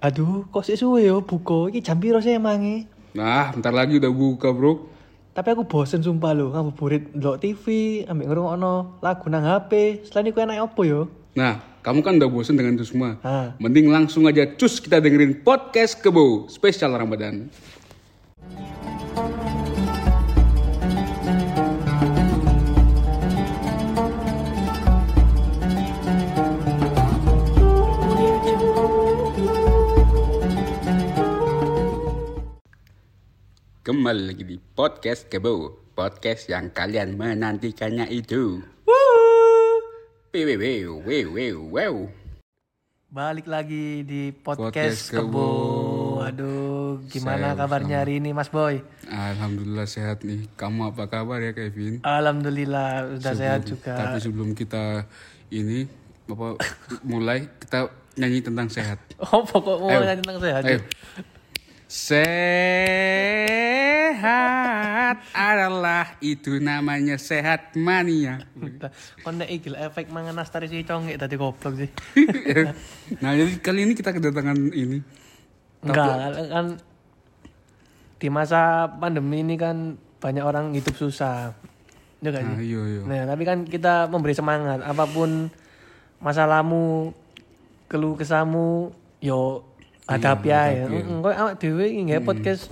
Aduh, kok sih suwe yo buka. Iki jam piro sih emange? Nah, bentar lagi udah buka bro. Tapi aku bosen sumpah lo, ngabuburit ndelok TV, ambek ngrungokno lagu nang HP. Selain iku enak opo yo? Nah, kamu kan udah bosen dengan itu semua. Ah. Mending langsung aja cus kita dengerin podcast Kebo spesial Ramadan. Kembali lagi di podcast Kebo, podcast yang kalian menantikannya itu. Wow, wow, wow, wow, wow. Balik lagi di podcast, Podcast Kebo. Kebo. Aduh, gimana Saya kabarnya hari ini Mas Boy? Alhamdulillah sehat nih. Kamu apa kabar ya Kevin? Alhamdulillah udah sehat juga. Tapi sebelum kita ini apa mulai kita nyanyi tentang sehat. Oh, pokok mau Ayo. nyanyi tentang sehat. Ayo. Sehat adalah itu namanya sehat mania. Udah. Kon nek iki lah, efek mangan nastar sih congek tadi goblok sih. nah jadi kali ini kita kedatangan ini. Enggak, kan di masa pandemi ini kan banyak orang hidup susah. Ya nggak sih? Nah, iya iya. Nah, tapi kan kita memberi semangat apapun masalahmu, keluh kesamu, yo hadapi Iya, aja. Engko awak dhewe iki nggak Hmm. podcast.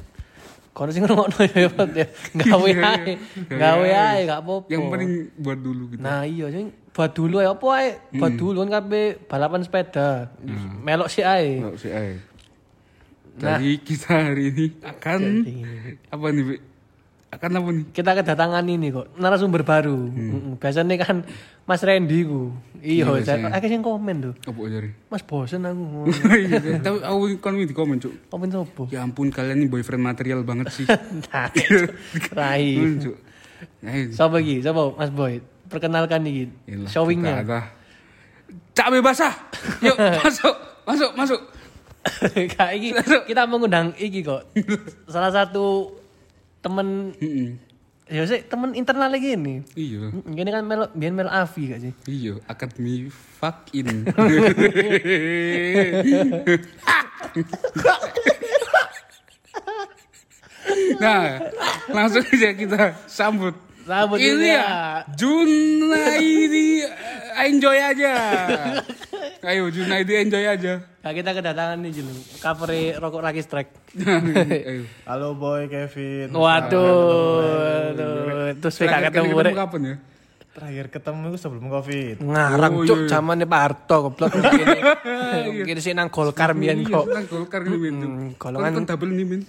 Kono sing ngrungokno ya podcast. Gawe ae. Gawe ae gak apa-apa. Iya, Yang penting buat dulu gitu. Nah, iya sing buat dulu ya apa ae? Buat Hmm. dulu kan kabeh balapan sepeda. Melok sih ae. Nggak usah, eh. Jadi kita hari ini akan apa nih? Bi? Akan apa nih? kita kedatangan ini kok narasumber baru Mm-mm. biasanya kan Mas Randy ku iya saya aku yang komen tuh Apa aja nih? Mas bosen aku Iya, Tapi aku kan di komen cuk. komen sopo Ya ampun kalian nih boyfriend material banget sih. Hmm, nah rai Cuk. Nah, ini. siapa lagi siapa Mas Boy perkenalkan nih Yalah, showingnya kita ada. Cabe basah. Yuk masuk, masuk, masuk. Kak, iki, kita mengundang iki kok salah satu temen Mm-mm. ya sih temen internal lagi ini Iya. Mm, ini kan melo biar melo Avi gak sih Iya, akademi fuck in. nah, langsung aja kita sambut. Sambut Yulia. ini ya. Junaidi eh, enjoy aja. Ayo Junaidi enjoy aja. Nah, kita kedatangan nih jelo cover rokok rakis track Ayo. Halo Boy Kevin. Waduh, aduh. terus kita Terakhir kali ketemu ketemu rek. kapan ya? Terakhir ketemu itu sebelum Covid. Ngarang Oh, cuk iya, iya. zamannya Pak Harto goblok Kene- kene sih nang Golkar mbiyen Iya, kok. kan Golkar nih, Min. Mm, Kan- golongan- kan double nih, Min.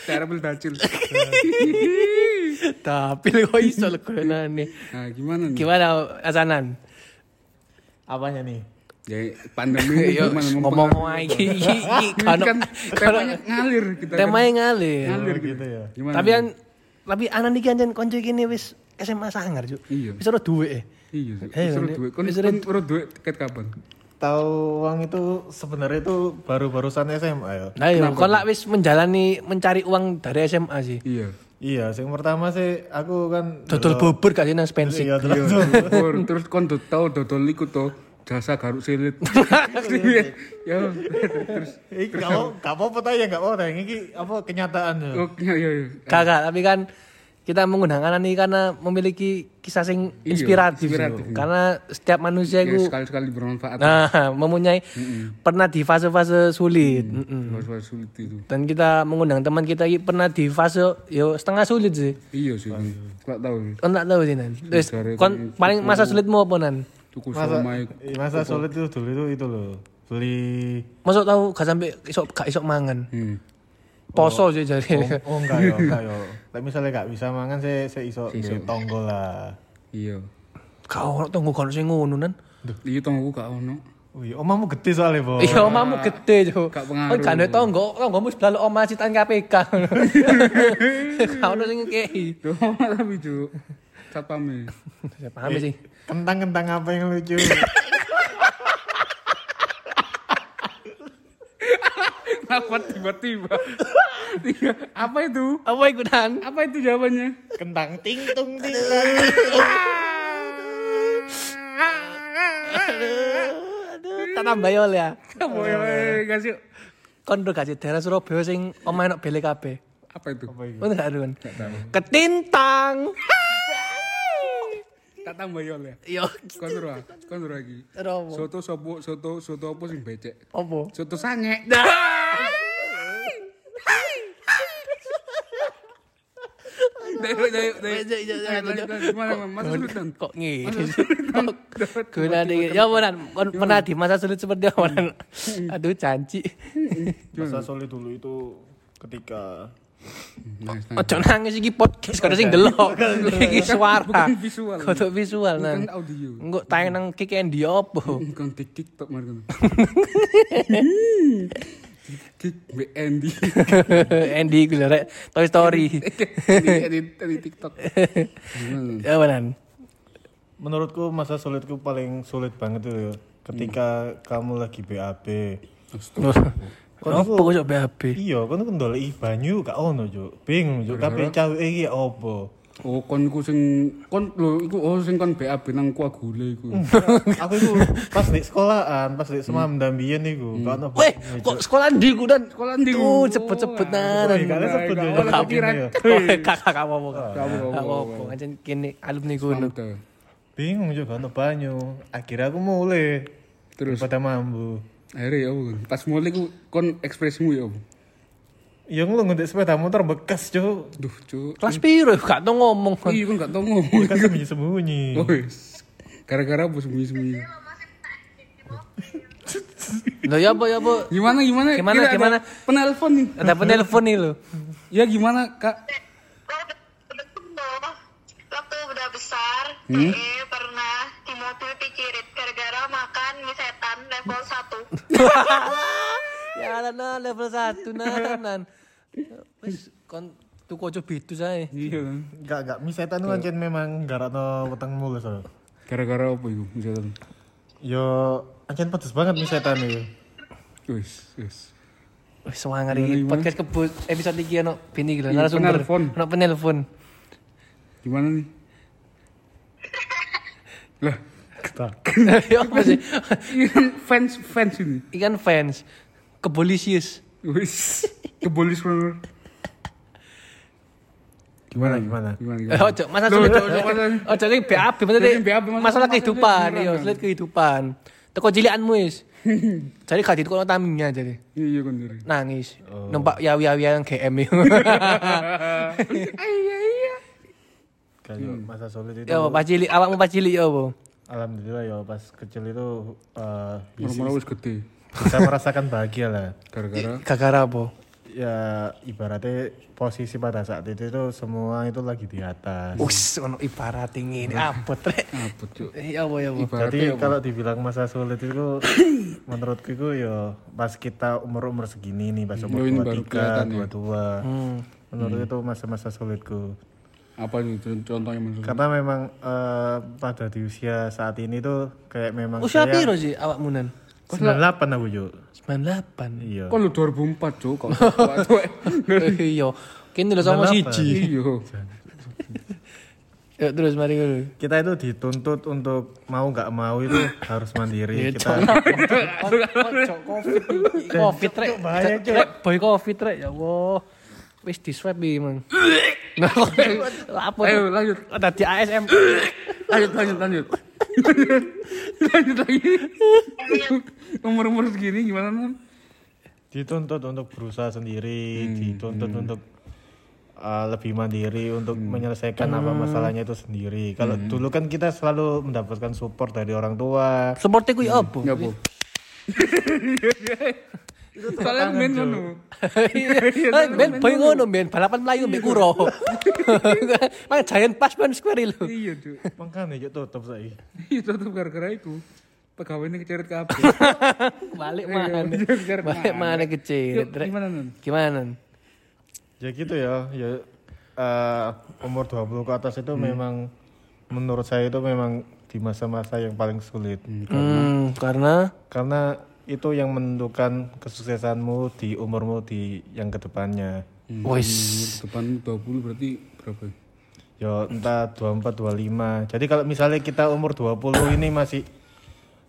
Terrible bacil. Tapi kok iso legonane. Nah, gimana nih? Gimana Hasanan? Apanya nih? Ya, pandemi Yo gimana ngomong mempengaruhi? wae iki iki iki, kono- kan kono- temanya ngalir kita kan. temanya ngalir. ngalir gitu. gitu ya. Gimana? Tapi kan tapi anan iki anjen konco iki ne wis SMA sangar cuk. Iya. Wis ora duwe. iya, Eh, seru ini- duit. Kon ini kon seru duit tiket kapan? Tahu uang itu sebenarnya itu baru-barusan SMA ya. Nah, iya, kon lak wis menjalani mencari uang dari SMA sih. Iya. Iya, yang pertama sih aku kan Dodol bubur gak sih nang Spensi? Iya, dodol- Syukur. Terus kon do- tau dodol iku to jasa garuk silit. Iya, Ya, terus Ih, gak mau- gak apa-apa ta ya, gak apa-apa. Ini ki- apa kenyataan ya. oke ya ya. Kagak, tapi kan kita menggunakan ini karena memiliki kisah sing Iya, inspiratif. inspiratif, Ju. Karena setiap manusia Ya, itu sekali-sekali bermanfaat. nah mempunyai pernah di fase-fase sulit. Mm-mm. Luar-luar sulit itu. Dan kita mengundang teman kita ini pernah di fase yo setengah sulit sih. Iya sih. Kok tahu. Kau nggak tahu sih nan. Terus, Dari kon- paling masa sulitmu apa nan? Tuku Masa, somai. iya, masa sulit itu dulu itu itu loh. Beli Masuk tahu gak sampai isok gak isok mangan. Hmm. Poso sih jadi. Oh enggak ya, enggak ya. Tapi misalnya gak bisa mangan saya saya iso duit tonggo lah. Iya. Kau orang tunggu kalau sing ngono nan. Iya tonggo gak ono. Wih, omamu gede soalnya, Boy. Iya, omamu gede jo. Gak pengaruh. Kan gak tonggo, tonggomu sebelah lo oma citan KPK. Kau orang sing ngekei. Duh, tapi cuk. Satpamnya. Saya paham Eh. sih. Kentang-kentang apa yang lucu? Kenapa tiba-tiba? Tiga, Apa itu? Apa ikutan? Apa itu jawabannya? Kentang ting tung ting tung. Aduh, tata tambah yo ya. Apa ya? Kasih Kon do gaji daerah Surabaya sing omahe nok bele kabeh. apa itu? Ngono gak Run? Ketintang. Tak tambah yol ya. Yo. Kon suruh, ah. kon suruh lagi. Romo. Soto sopo, soto soto apa sing becek? Opo? Soto sange. Nah. Dayo, dayo, dayo. Becek, becek, Lanjut, becek. lanjut, Gimana, Mas? Mas sulit dong. Kok ngene sih? Guna dingin. Ya Monan, kon pernah di masa sulit seperti apa Monan? Aduh janji. Hmm. Masa sulit dulu itu ketika Nice, nice. Ojo nangis iki podcast kada sing delok. Iki suara. Bukan visual. Kodok visual Bukan nan. audio. Engko tayang nang kick endi opo? Bukan di TikTok mar kono. Kick be Andy. Endi iku lho rek Toy Story. Di di TikTok. Hmm. Ya Monan. menurutku masa sulitku paling sulit banget itu ya. Ketika kamu lagi BAB. Opo kok BAB? Iya, kan aku ndoleki banyu gak ono, Cuk. Bingung, Cuk. Kabeh caweke iki ya opo? Oh kon ku sing kon lho iku oh sing kon BAB nang kuah gule iku. Mm. aku itu pas di sekolahan, pas di semam dan biyen iku, gak ono. Weh, kok sekolah ndi ku dan? Sekolah ndi Nah, ku? Tuh, Oh, cepet-cepet Woi, nan. kalian sebut Gak ya. ono Gak pikiran. gini ya. Kakak kamu apa? Gak apa-apa, Gak gak apa-apa. Ancen kene alumni ngono. Mantap. Bingung juga ono banyu. Akhirnya aku mulai Terus? pada mambu. Akhirnya ya Allah. pas mulai ku kon ekspresimu ya. Allah. Ya ngono ngundik sepeda motor bekas, Cuk. Duh, cuk. Kelas piro gak tau ngomong. Iya kon gak tau ngomong. Iya. Bekas sembunyi-sembunyi. Wes. Gara-gara apa sembunyi-sembunyi. Lho ya apa ya apa? Gimana gimana? Gimana, Kira ada gimana? Penelpon nih. Ada penelpon nih lho. Ya gimana, Kak? waktu udah besar eh, pernah di mobil pikirit gara-gara makan mie setan level 1 Ya lan nah, level nah, 1 nan nan. Wis kon tuku aja bitu sae. Iya. kan. Gak gak misetan kan cen memang garano weteng mulus. Cuk. Gara-gara apa itu? Misalkan. Yo ancen pedes banget misetan itu. Wes, wes. Wis semangat iki podcast kebut episode iki ono bini iki lho Iya, narasumber. penelpon. Ono penelpon. Gimana nih? Lah, Ya apa sih? ini kan fans fans ini. Ikan fans. Kebolisius. Wes. Kebolis bener. Gimana gimana? Gimana Eh, gimana? Ojo, masa sulit Iya. Loh, loh, ojo. loh. Ojo iki BAB maksudnya Ini BAB, maksudnya masalah maksudnya kehidupan, beneran, yo, kan? sulit kehidupan. Teko cilikanmu wis. Jadi gak ditukokno taminya jadi. Iya, iya kan dari. nangis Oh. numpak yawi yawian GM itu Iya, iya. Kayak Hmm. masa sulit itu. ya apa pas cilik awakmu pas cilik ya apa Alhamdulillah ya pas kecil itu eh, Murmur wis gede. bisa merasakan bahagia lah. Gara-gara gara apa ya ibaratnya posisi pada saat itu itu semua itu lagi di atas. Oh, us ono ibarat ini apa trek apa, Cuk? ya apa ya apa Jadi kalau dibilang masa sulit itu menurutku itu ya pas kita umur-umur segini nih pas umur ini baru ya. Hmm. 23, 22. Menurut itu masa-masa sulitku. Apa itu Con- contohnya maksudnya? Karena memang eh, pada di usia saat ini tuh kayak memang usia saya piro sih awakmu nan 98 aku yuk. 98 Iya. Kok lu 2004, Cuk? Kok tua-tua? iya kini lho sama siji Iya. Ya, terus mari dulu Kita itu dituntut untuk mau nggak mau itu harus mandiri. Kita covid trek bahaya, Cok. Trek, boy covid trek ya Allah wis di swab iki mang Nah, Iya. apa tuh? Ayo, Eh, lanjut. tadi ASM lanjut lanjut lanjut lanjut lagi umur umur segini gimana non dituntut untuk berusaha sendiri, dituntut untuk uh, lebih mandiri untuk menyelesaikan apa masalahnya itu sendiri. Kalau dulu kan kita selalu mendapatkan support dari orang tua. seperti kuwi apa nggak bu soalnya main sono Eh, Ben boy ngono Ben balapan melayu mbek kuro. Mang Giant Pas Ben Square lho. iya tuh Makanya yuk tutup saya. itu tuh gara-gara itu pegawainya keceret ke apa Balik mana? Iya, Balik mana kecil. Yuk, gimana non Gimana? Nan? Ya gitu ya, ya uh, umur 20 ke atas itu memang menurut saya itu memang di masa-masa yang paling sulit. Hmm, karena Karena itu yang menentukan kesuksesanmu di umurmu di yang kedepannya. wis depan 20 berarti berapa ya? Ya entah 24, 25. Jadi kalau misalnya kita umur 20 ini masih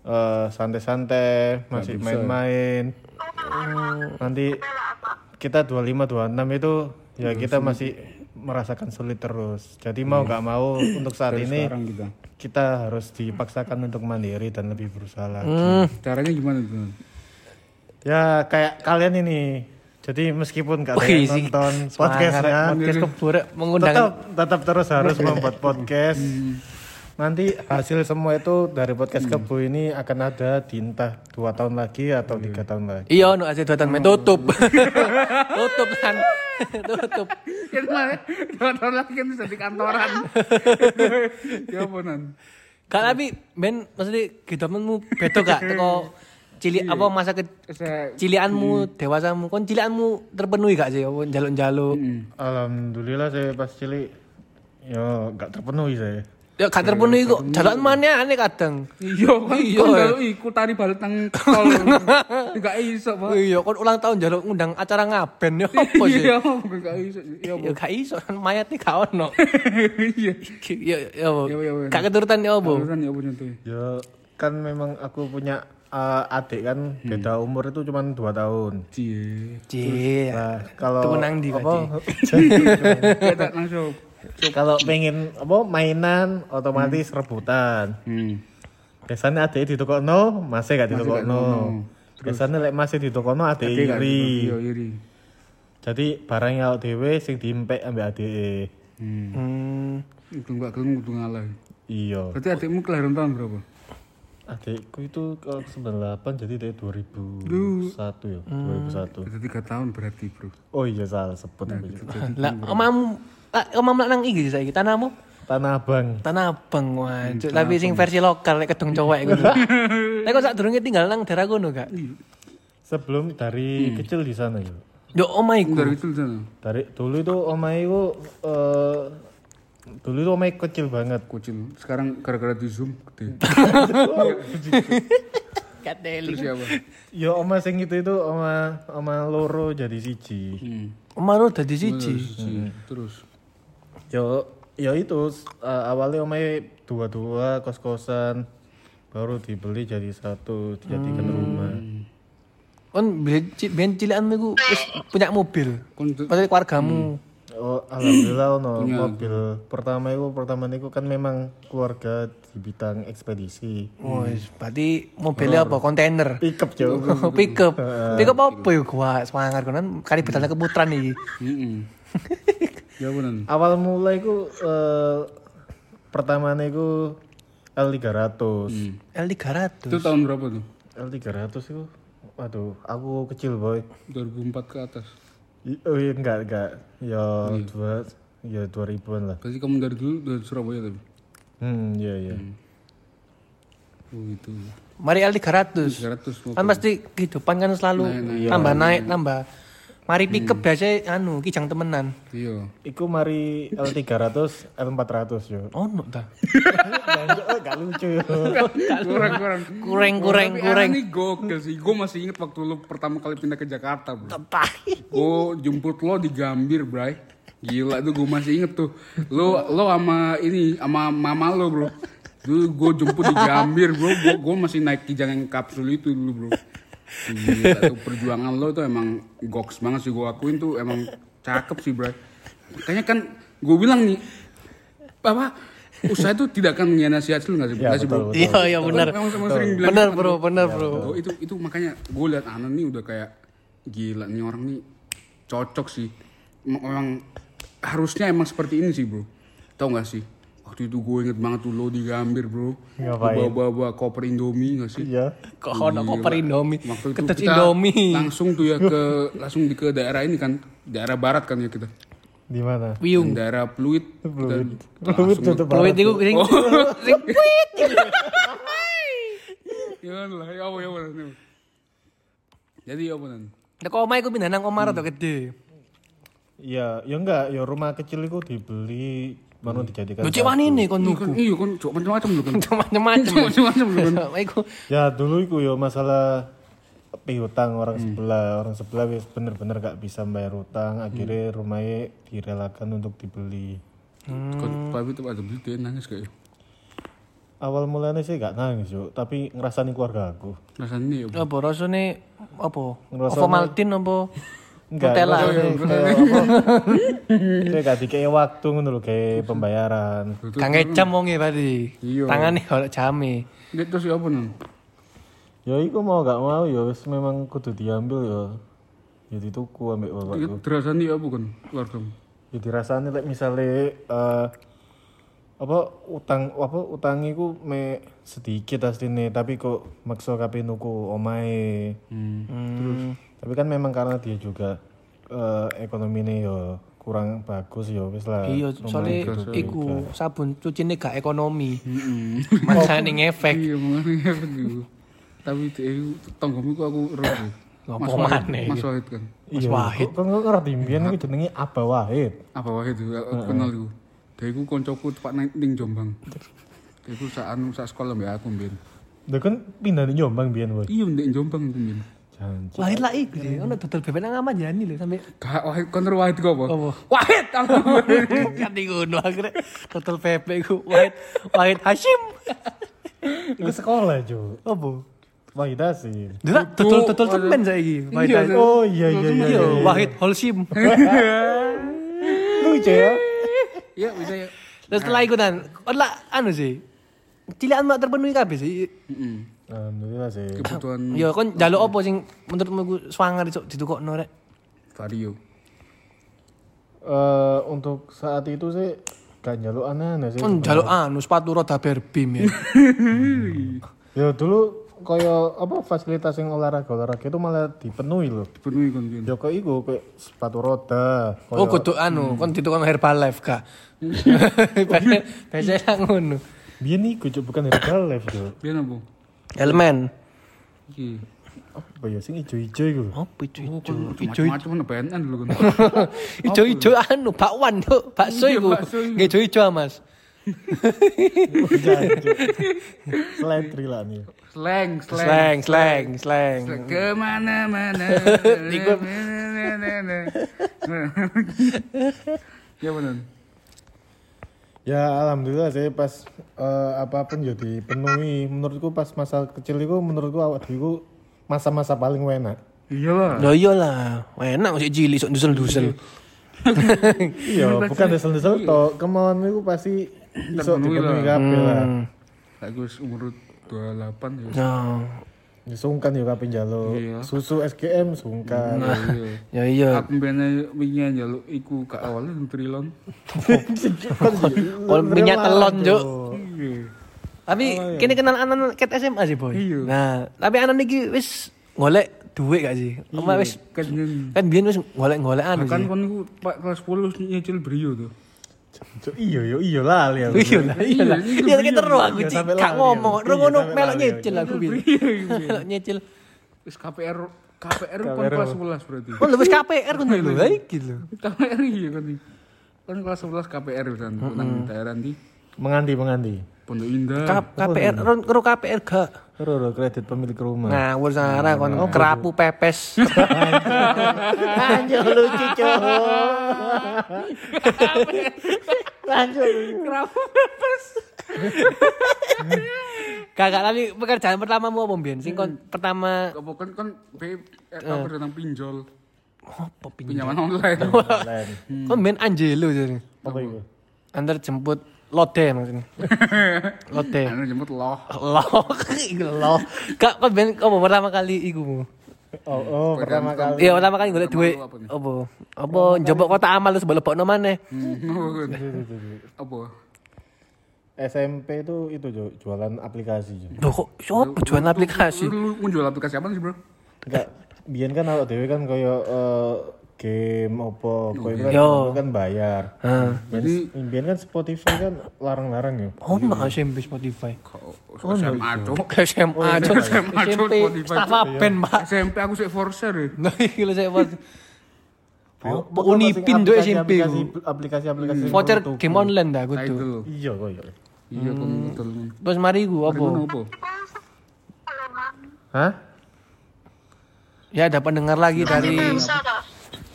eh, santai-santai masih main-main nanti kita 25 26 itu ya kita masih merasakan sulit terus jadi mau nggak mau untuk saat ini sekarang kita kita harus dipaksakan untuk mandiri dan lebih berusaha lagi caranya gimana tuh ya kayak kalian ini jadi meskipun nggak ada Wih, Oh, yang iya sih. nonton Semangat, podcastnya Nah, podcast keburuk mengundang tetap tetap terus harus membuat podcast Hmm. nanti hasil semua itu dari podcast kebu ini akan ada di entah dua tahun lagi atau tiga tahun lagi Iya, no asih dotan main tutup. tutup kan. tutup. itu malah Ya, dua tahun lagi kan bisa di kantoran ya apa nan Kak tapi men maksudnya gedomenmu beda gak teko cilik Iya. apa masa ke saya Hmm. cilianmu dewasamu kon cilianmu terpenuhi gak sih apa njaluk-njaluk Hmm. alhamdulillah saya pas cilik ya nggak terpenuhi saya ya gak terpenuhi kok jalan mana aneh kadang iya kan Iya, iya ya. iku tari balik nang tol gak iso Pak. iya kon ulang tahun njaluk ngundang acara ngaben ya apa sih iya gak iso iya ya gak iso kan mayat nih gak ono iya ya ya apa Ya, ya, ya. gak keturutan ya apa Urusan ya apa contohnya ya kan memang aku punya eh, adik kan Hmm. beda umur itu cuma dua tahun Iya. cie cie nah kalau Tuku nang ndi, apa, gak tak langsung kalau pengen apa mainan otomatis rebutan hmm biasanya adik di no masih gak di no biasanya lek masih di no adik Iya, iri iya iri jadi barang yang dewe sing diimpek ambek adik hmm hmm. itu gak gelung kudu ngalah iya berarti adikmu kelahiran tahun berapa adikku itu kalau 98 jadi dari 2001 ya 2001 itu tiga tahun berarti bro oh iya salah sebut aku. lah omamu lah omam lah nang iki saiki tanahmu tanah abang Tanah Abang wah, Cuk, tapi sing versi lokal lek kedung cowek ngono. Lek kok sadurunge tinggal nang daerah kono gak? sebelum dari kecil di sana ya Yo omah iku. dari itu di sana dari dulu itu omai itu eh, dulu itu omai kecil banget kecil sekarang gara-gara di zoom gede Kateli. terus siapa ya oma sing itu itu oma oma loro jadi siji hmm Iya. Omah lu dadi siji. Siji. terus Yo, yo itu s- uh, awalnya omai dua-dua kos-kosan baru dibeli jadi satu dijadikan rumah. Kon biyen ci- biyen cilikanmu iku wis punya mobil. kon Maksudnya keluargamu. Oh, alhamdulillah ono mobil pertama itu pertama itu kan memang keluarga di bidang ekspedisi. Wis, berarti mobilnya apa? Kontainer. Pickup jauh. Hmm. Pickup. Pickup apa yo gua? Semangat kono Kan kali betalnya keputran iki. Heeh. ya benar. Awal mulai itu eh pertama itu Hmm. L300. L300. Itu tahun berapa tuh? L300 itu waduh, aku kecil boy. 2004 ke atas. I- Oh iya, enggak enggak. Ya dua ya 2000-an lah. Berarti kamu dari dulu dari Surabaya tapi. Hmm, iya iya. Oh itu. Mari L300. 300 kan pasti kehidupan kan selalu tambah naik tambah mari pickup biasanya anu kijang temenan Iya. Iku mari L300, L400 yo. oh no ta Gak lucu yo. Kurang-kurang. kureng kureng kureng Ini gokil sih. Gue masih inget waktu lu pertama kali pindah ke Jakarta, bro. Tai. Gue jemput lo di Gambir, bray. Gila tuh gue masih inget tuh. Lo lo sama ini sama mama lo, bro. Dulu gue jemput di Gambir, bro. Gue gue masih naik kijang yang kapsul itu dulu, bro. Gila tuh perjuangan lo tuh emang goks banget sih gue akuin tuh emang cakep sih, bray. Makanya kan gue bilang nih, apa usaha itu tidak akan mengkhianati hasil nggak sih, Ya, nggak sih, bro? betul, betul. iya iya benar Emang, emang sering bilang gitu, benar bro benar bro Oh, itu itu makanya gue liat Anan nih udah kayak gila nih orang nih cocok sih. Em- Emang harusnya emang seperti ini sih bro. Tau gak sih? Waktu itu gue inget banget tuh lo di Gambir bro. Lo Ngapain? Bawa-bawa koper Indomie gak sih? Iya. kok ono koper indomie Waktu itu ketes kita indomie langsung tuh ya ke langsung di ke daerah ini kan daerah barat kan ya kita Di mana? wiung daerah Pluit Fluid. Fluid tutup Duit banget. itu sing sing ya lah ya Allah, ya Allah, ya Allah. jadi ya benar Nek omah iku pindah nang omah rada gede. Iya, ya enggak, ya rumah kecil itu dibeli baru dijadikan. Lho cek ini kon iya nuku. kan iya kan cok macam-macam lu kan Macam-macam. macam-macam lu kan Omah iku Ya dulu itu yo masalah piutang orang sebelah, orang sebelah wis bener-bener gak bisa bayar utang, akhirnya rumahnya direlakan untuk dibeli. Hmm. Kan Pak itu ada beli dia nangis kayak awal mulanya sih gak nangis yuk tapi ngerasain keluarga aku Rasanya ya. Apa rasane apa? Ngerasane- Apa Maltin apa? Enggak, Nutella. Kayak gak dikei waktu ngono lho kayak pembayaran Kang ecam wonge berarti. Iya. Tangane golek jame. Dek terus ya apa nun? ya iku mau gak mau ya wis memang kudu diambil ya ya dituku ambek Ya, bapakku Rasanya ya apa kan keluargamu? ya dirasani lek misale eh, apa utang apa utang iku me sedikit asline tapi kok maksa kape nuku omae tapi kan memang karena dia juga eh, ekonominya ya kurang bagus ya wis lah Iya, omahe soalnya kudu iku sabun cucine gak ekonomi. Mm-mm. Makane ngefek. Iya makanya apa dulu. Tapi dek itu tonggomu kok aku roh. Ngopo Wahid- maneh Mas iki? Wahid kan. Iya, Wahid. Kok kok ngerti mbiyen iki jenenge Aba Wahid. Apa Wahid itu? Aku kenal itu. Dek itu koncoku tepat nang ning Jombang. Dek itu sak anu sak sekolah mbek aku mbien. Lha kan pindah ning Jombang mbiyen, Wahid. Iya ndek Jombang aku mbien. Janji. Wahid lah iku sih, ono dodol bebek nang aman jani lho sampe Gak Wahid konter Wahid kok apa? Apa? Wahid. ganti Kan ngono akhire dodol bebek iku Wahid Wahid Hasyim. Iku sekolah, Cuk. Apa? Wahid Asin. Dulu dodol dodol temen saiki. Wahid. Iya, Hasyim. Cuk. Oh iya iya iya. Iya, Wahid Holsim. Lucu ya. Iya bisa ya. Terus setelah ikutan, kan lah anu sih. Cilikan mak terpenuhi kabeh sih. Mm-mm. Alhamdulillah sih. Kebutuhan Ya kon jaluk apa sing menurutmu iku swanger cuk ditukokno rek. vario. Eh untuk saat itu sih gak njaluk aneh-aneh sih. Kon jaluk anu sepatu roda berbim ya. Ya dulu koyo apa fasilitas yang olahraga olahraga itu malah dipenuhi loh. Dipenuhi kon mbien. Joko iku kayak sepatu roda. Oh koyo- kudu anu, kon ditukokno Herbalife ka. iya. Biasa lah ngono. Biyen iku Cuk, bukan herbal life Cuk. Biar apa? Elemen. Iki. Apa ya sing ijo-ijo iku lho. Apa ijo? Iya, Macam-macam PNN dulu kan. Ijo-ijo anu bakwan cuk, bakso Iya, iku. bakso iku. Nggih ijo-ijo ah, Mas. Slentri Iya, lah nih. Slang, Sleng, slang. sleng, sleng. Kemana-mana. Ya benar. Ya alhamdulillah sih pas eh, apapun ya dipenuhi. Menurutku pas masa kecil itu menurutku awak dhewe iku masa-masa paling enak. Iyalah. Yo yo lah, enak sih cilik sok dusel-dusel. Iya, bukan desel-desel to. Kemauan iku pasti iso Terpenuhi dipenuhi kabeh lah. Hmm. Aku wis umur 28 ya. Nah, Ya, Sungkan ya kabeh njaluk. Iya. Susu SGM sungkan. Nah. Iya. yo yo. Aku mbene wingi njaluk iku gak awalnya nang trilon. Kalau minyak telon, Cuk. Iya. Tapi kini kenal anak ket SMA sih, Boy. Iya. Nah, tapi anak iki wis golek duit gak sih? Oma wis Kenyen. kan biyen wis golek-golek anu Bahkan sih. kon iku Pak kelas 10 nyicil brio tuh. Cuk, Iya yo iya lah ya. Iya lah, iya lah. Iya, Iya kita terus aku Iya, Cik. sampai gak lari, ngomong, iya. terus Iya, ngono sampai melok lari, iya. nyicil aku biyen. Melok nyicil. Wis KPR KPR pun kelas 11 berarti. Oh, lu wis KPR kan lho, Iya, ha iki lho. KPR iya kan. Kan kelas 11 KPR kan nang daerah di Menganti menganti. Pondok Indah. Ka- Oh, iya. KPR, ron- karo KPR gak. Roro kredit pemilik rumah. Nah, wis arah Oh, kon iya. kerapu pepes. Anjir Ya, lucu Cuk. Kakak tapi pekerjaan pertamamu apa mbiyen? Sing kon pertama Apa kan kan B eh, aku udah nang pinjol apa pin? pinjaman online. Hmm. Kon mbiyen Angelo jadi. Apa iku? Antar jemput lode maksudnya. lode. Anu jemput loh. Loh, iku loh. Kak kon ben apa pertama kali iku mu? Oh, oh pertama kan kali. Iya, pertama kali golek duit. Apa? Apa njobok kota amal terus lebokno maneh. Hmm. Apa? SMP itu itu Cuk, jualan aplikasi Cuk. Loh kok sopo jualan aplikasi? Lu lu jual aplikasi apa sih, Bro? Enggak, biyen kan awak dhewe kan koyo eh, game opo, koyo kan, Yo. itu kan bayar. Heeh. Jadi biyen kan Spotify kan larang-larang ya. Ono SMP Spotify. Kok SMA tuh. Ke SMA Cuk. SMA, Cuk, Iya. SMP Spotify, Mustafa Ben, Pak. SMP aku sik forser ya. Nah, iki lho saya buat. Oh, Unipin do SMP ku. Aplikasi-aplikasi Voucher perlu tuku. game online dah aku tuh. Tidal. Iya koyo. Iya kon betul. Terus mari ku Hmm. apa? Ngono apa? Hah? Ya ada pendengar lagi dari Nah, Bisa toh?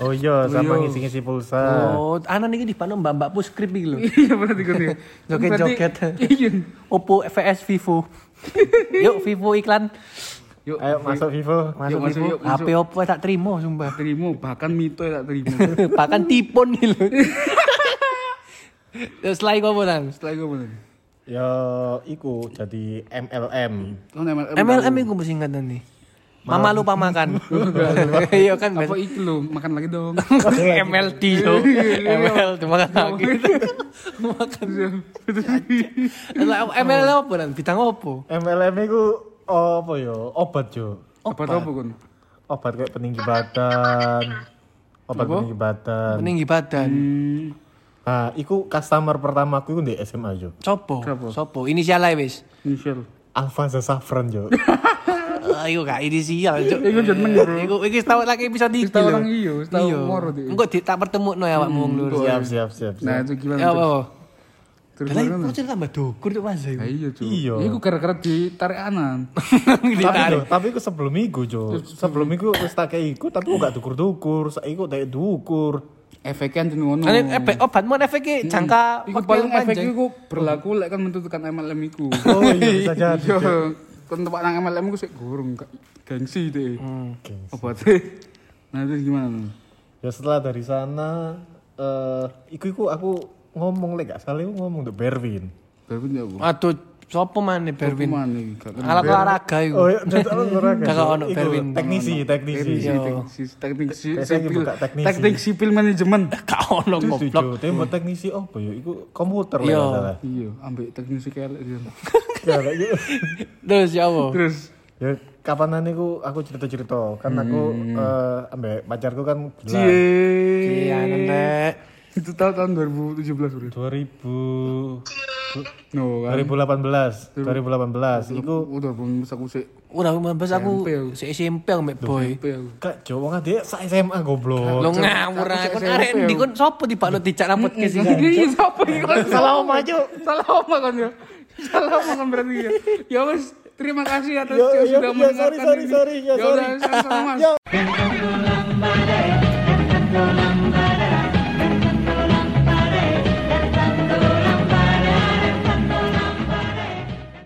Oh iya, sama ngisi-ngisi pulsa. Oh, anak ini di Mbak Mbak Puskrip iki lho. Iya berarti kan ya. Joget-joget. Berarti- Iya. Oppo VS Vivo. Yuk Vivo iklan. Yuk, Ayo masuk Vivo. Masuk Yuk, masuk, Vivo. yuk, HP Oppo tak terima sumpah. terima bahkan mito ya tak terima. Bahkan tipon nih lho. gitu. Terus lagi apa nang? Setelah itu apa tadi? Ya, iku jadi MLM. Oh, MLM. MLM itu mesti ingatan nih. Mama lupa makan. Iya kan Apa biasa. itu Iya, lo? Makan lagi dong. MLT yo. ML cuma kan Ah, lagi. gitu. Makan. Lah, ML apa nang? Bintang apa? MLM itu apa ya? Obat yo. Apa tau apa kan? Obat kayak peninggi badan. Obat peninggi badan. Meninggi badan. Hmm, Nah, iku customer pertamaku iku di SMA yo. Sopo? Sopo? Inisial ae wis. inisial. Alfonso Safran yo. Ayo Ah, gak inisial. Cuk. Iku jeneng bro. Iku iki tau lagi bisa di. Tahu orang iyo, tahu moro di. Engko di tak pertemukno ya awakmu wong lur. siap, siap, siap. siap. Nah itu gimana? Ya Cuk? apa? Terus Lah gimana? bocil tambah dukur tuh Mas. Nah, iya cuy. Iya. Iku gara-gara ditarik anan. tapi Ditarik. lho, tapi aku sebelum iku jo sebelum iku wis tak kayak iku tapi aku gak dukur dukur saiki aku tak dukur Efeknya jeneng ngono. Ane eh, eh, oh, efek obatmu ane efeknya jangka Iku Hmm. waktu paling yang panjang. efeknya iku berlaku lek kan menentukan MLM iku. oh iya bisa jadi Iya. Kan tempat nang MLM iku sik gurung gak- gengsi deh. Hmm, Gengsi. Obatnya. Nah terus gimana? Nun? ya setelah dari sana eh iku iku aku ngomong lek gak salah iku ngomong tuh Berwin Berarti ya bu. Aduh, sopo maneh Berwin? Mana iki? Gak kenal. Alat olahraga iku. oh iya ndak tahu ora kan Kakak ono Iku, Berwin. teknisi teknisi Teknisi, teknisi, teknik si- Iya. Biasanya sipil, buka teknisi. teknik sipil manajemen. Gak ono Itu goblok. setuju, tapi buat teknisi apa ya? Iku komputer lah Iya. nggak salah. Iya, ambek teknisi kelek dia. Ya, kayak gitu. Terus ya apa? Terus Ya kapanan iku aku cerita-cerita kan aku eh ambek pacarku kan bulan cie. Iya, nenek. Itu tahun tahun 2017 bro. 2000 No, kan. 2018 2018 iku Udah belum bisa aku sih. Ora mbes aku SMP aku. si SMP aku mek boy. Apa ya aku? Kak Jawa kan dia sa SMA goblok. Lo ngawur ae kon arek SMP ndi kon sopo dibalot dijak rambut ke sini. Ini siapa ini kan? Iya, Salah om aja. Salah oma kan ya? Salah oma kan berarti ya. Ya wes, terima kasih atas Ya, yang ya, sudah ya, mendengarkan sorry, ini. sorry, sorry, ya, Ya udah, sorry. sama-sama mas. Ya.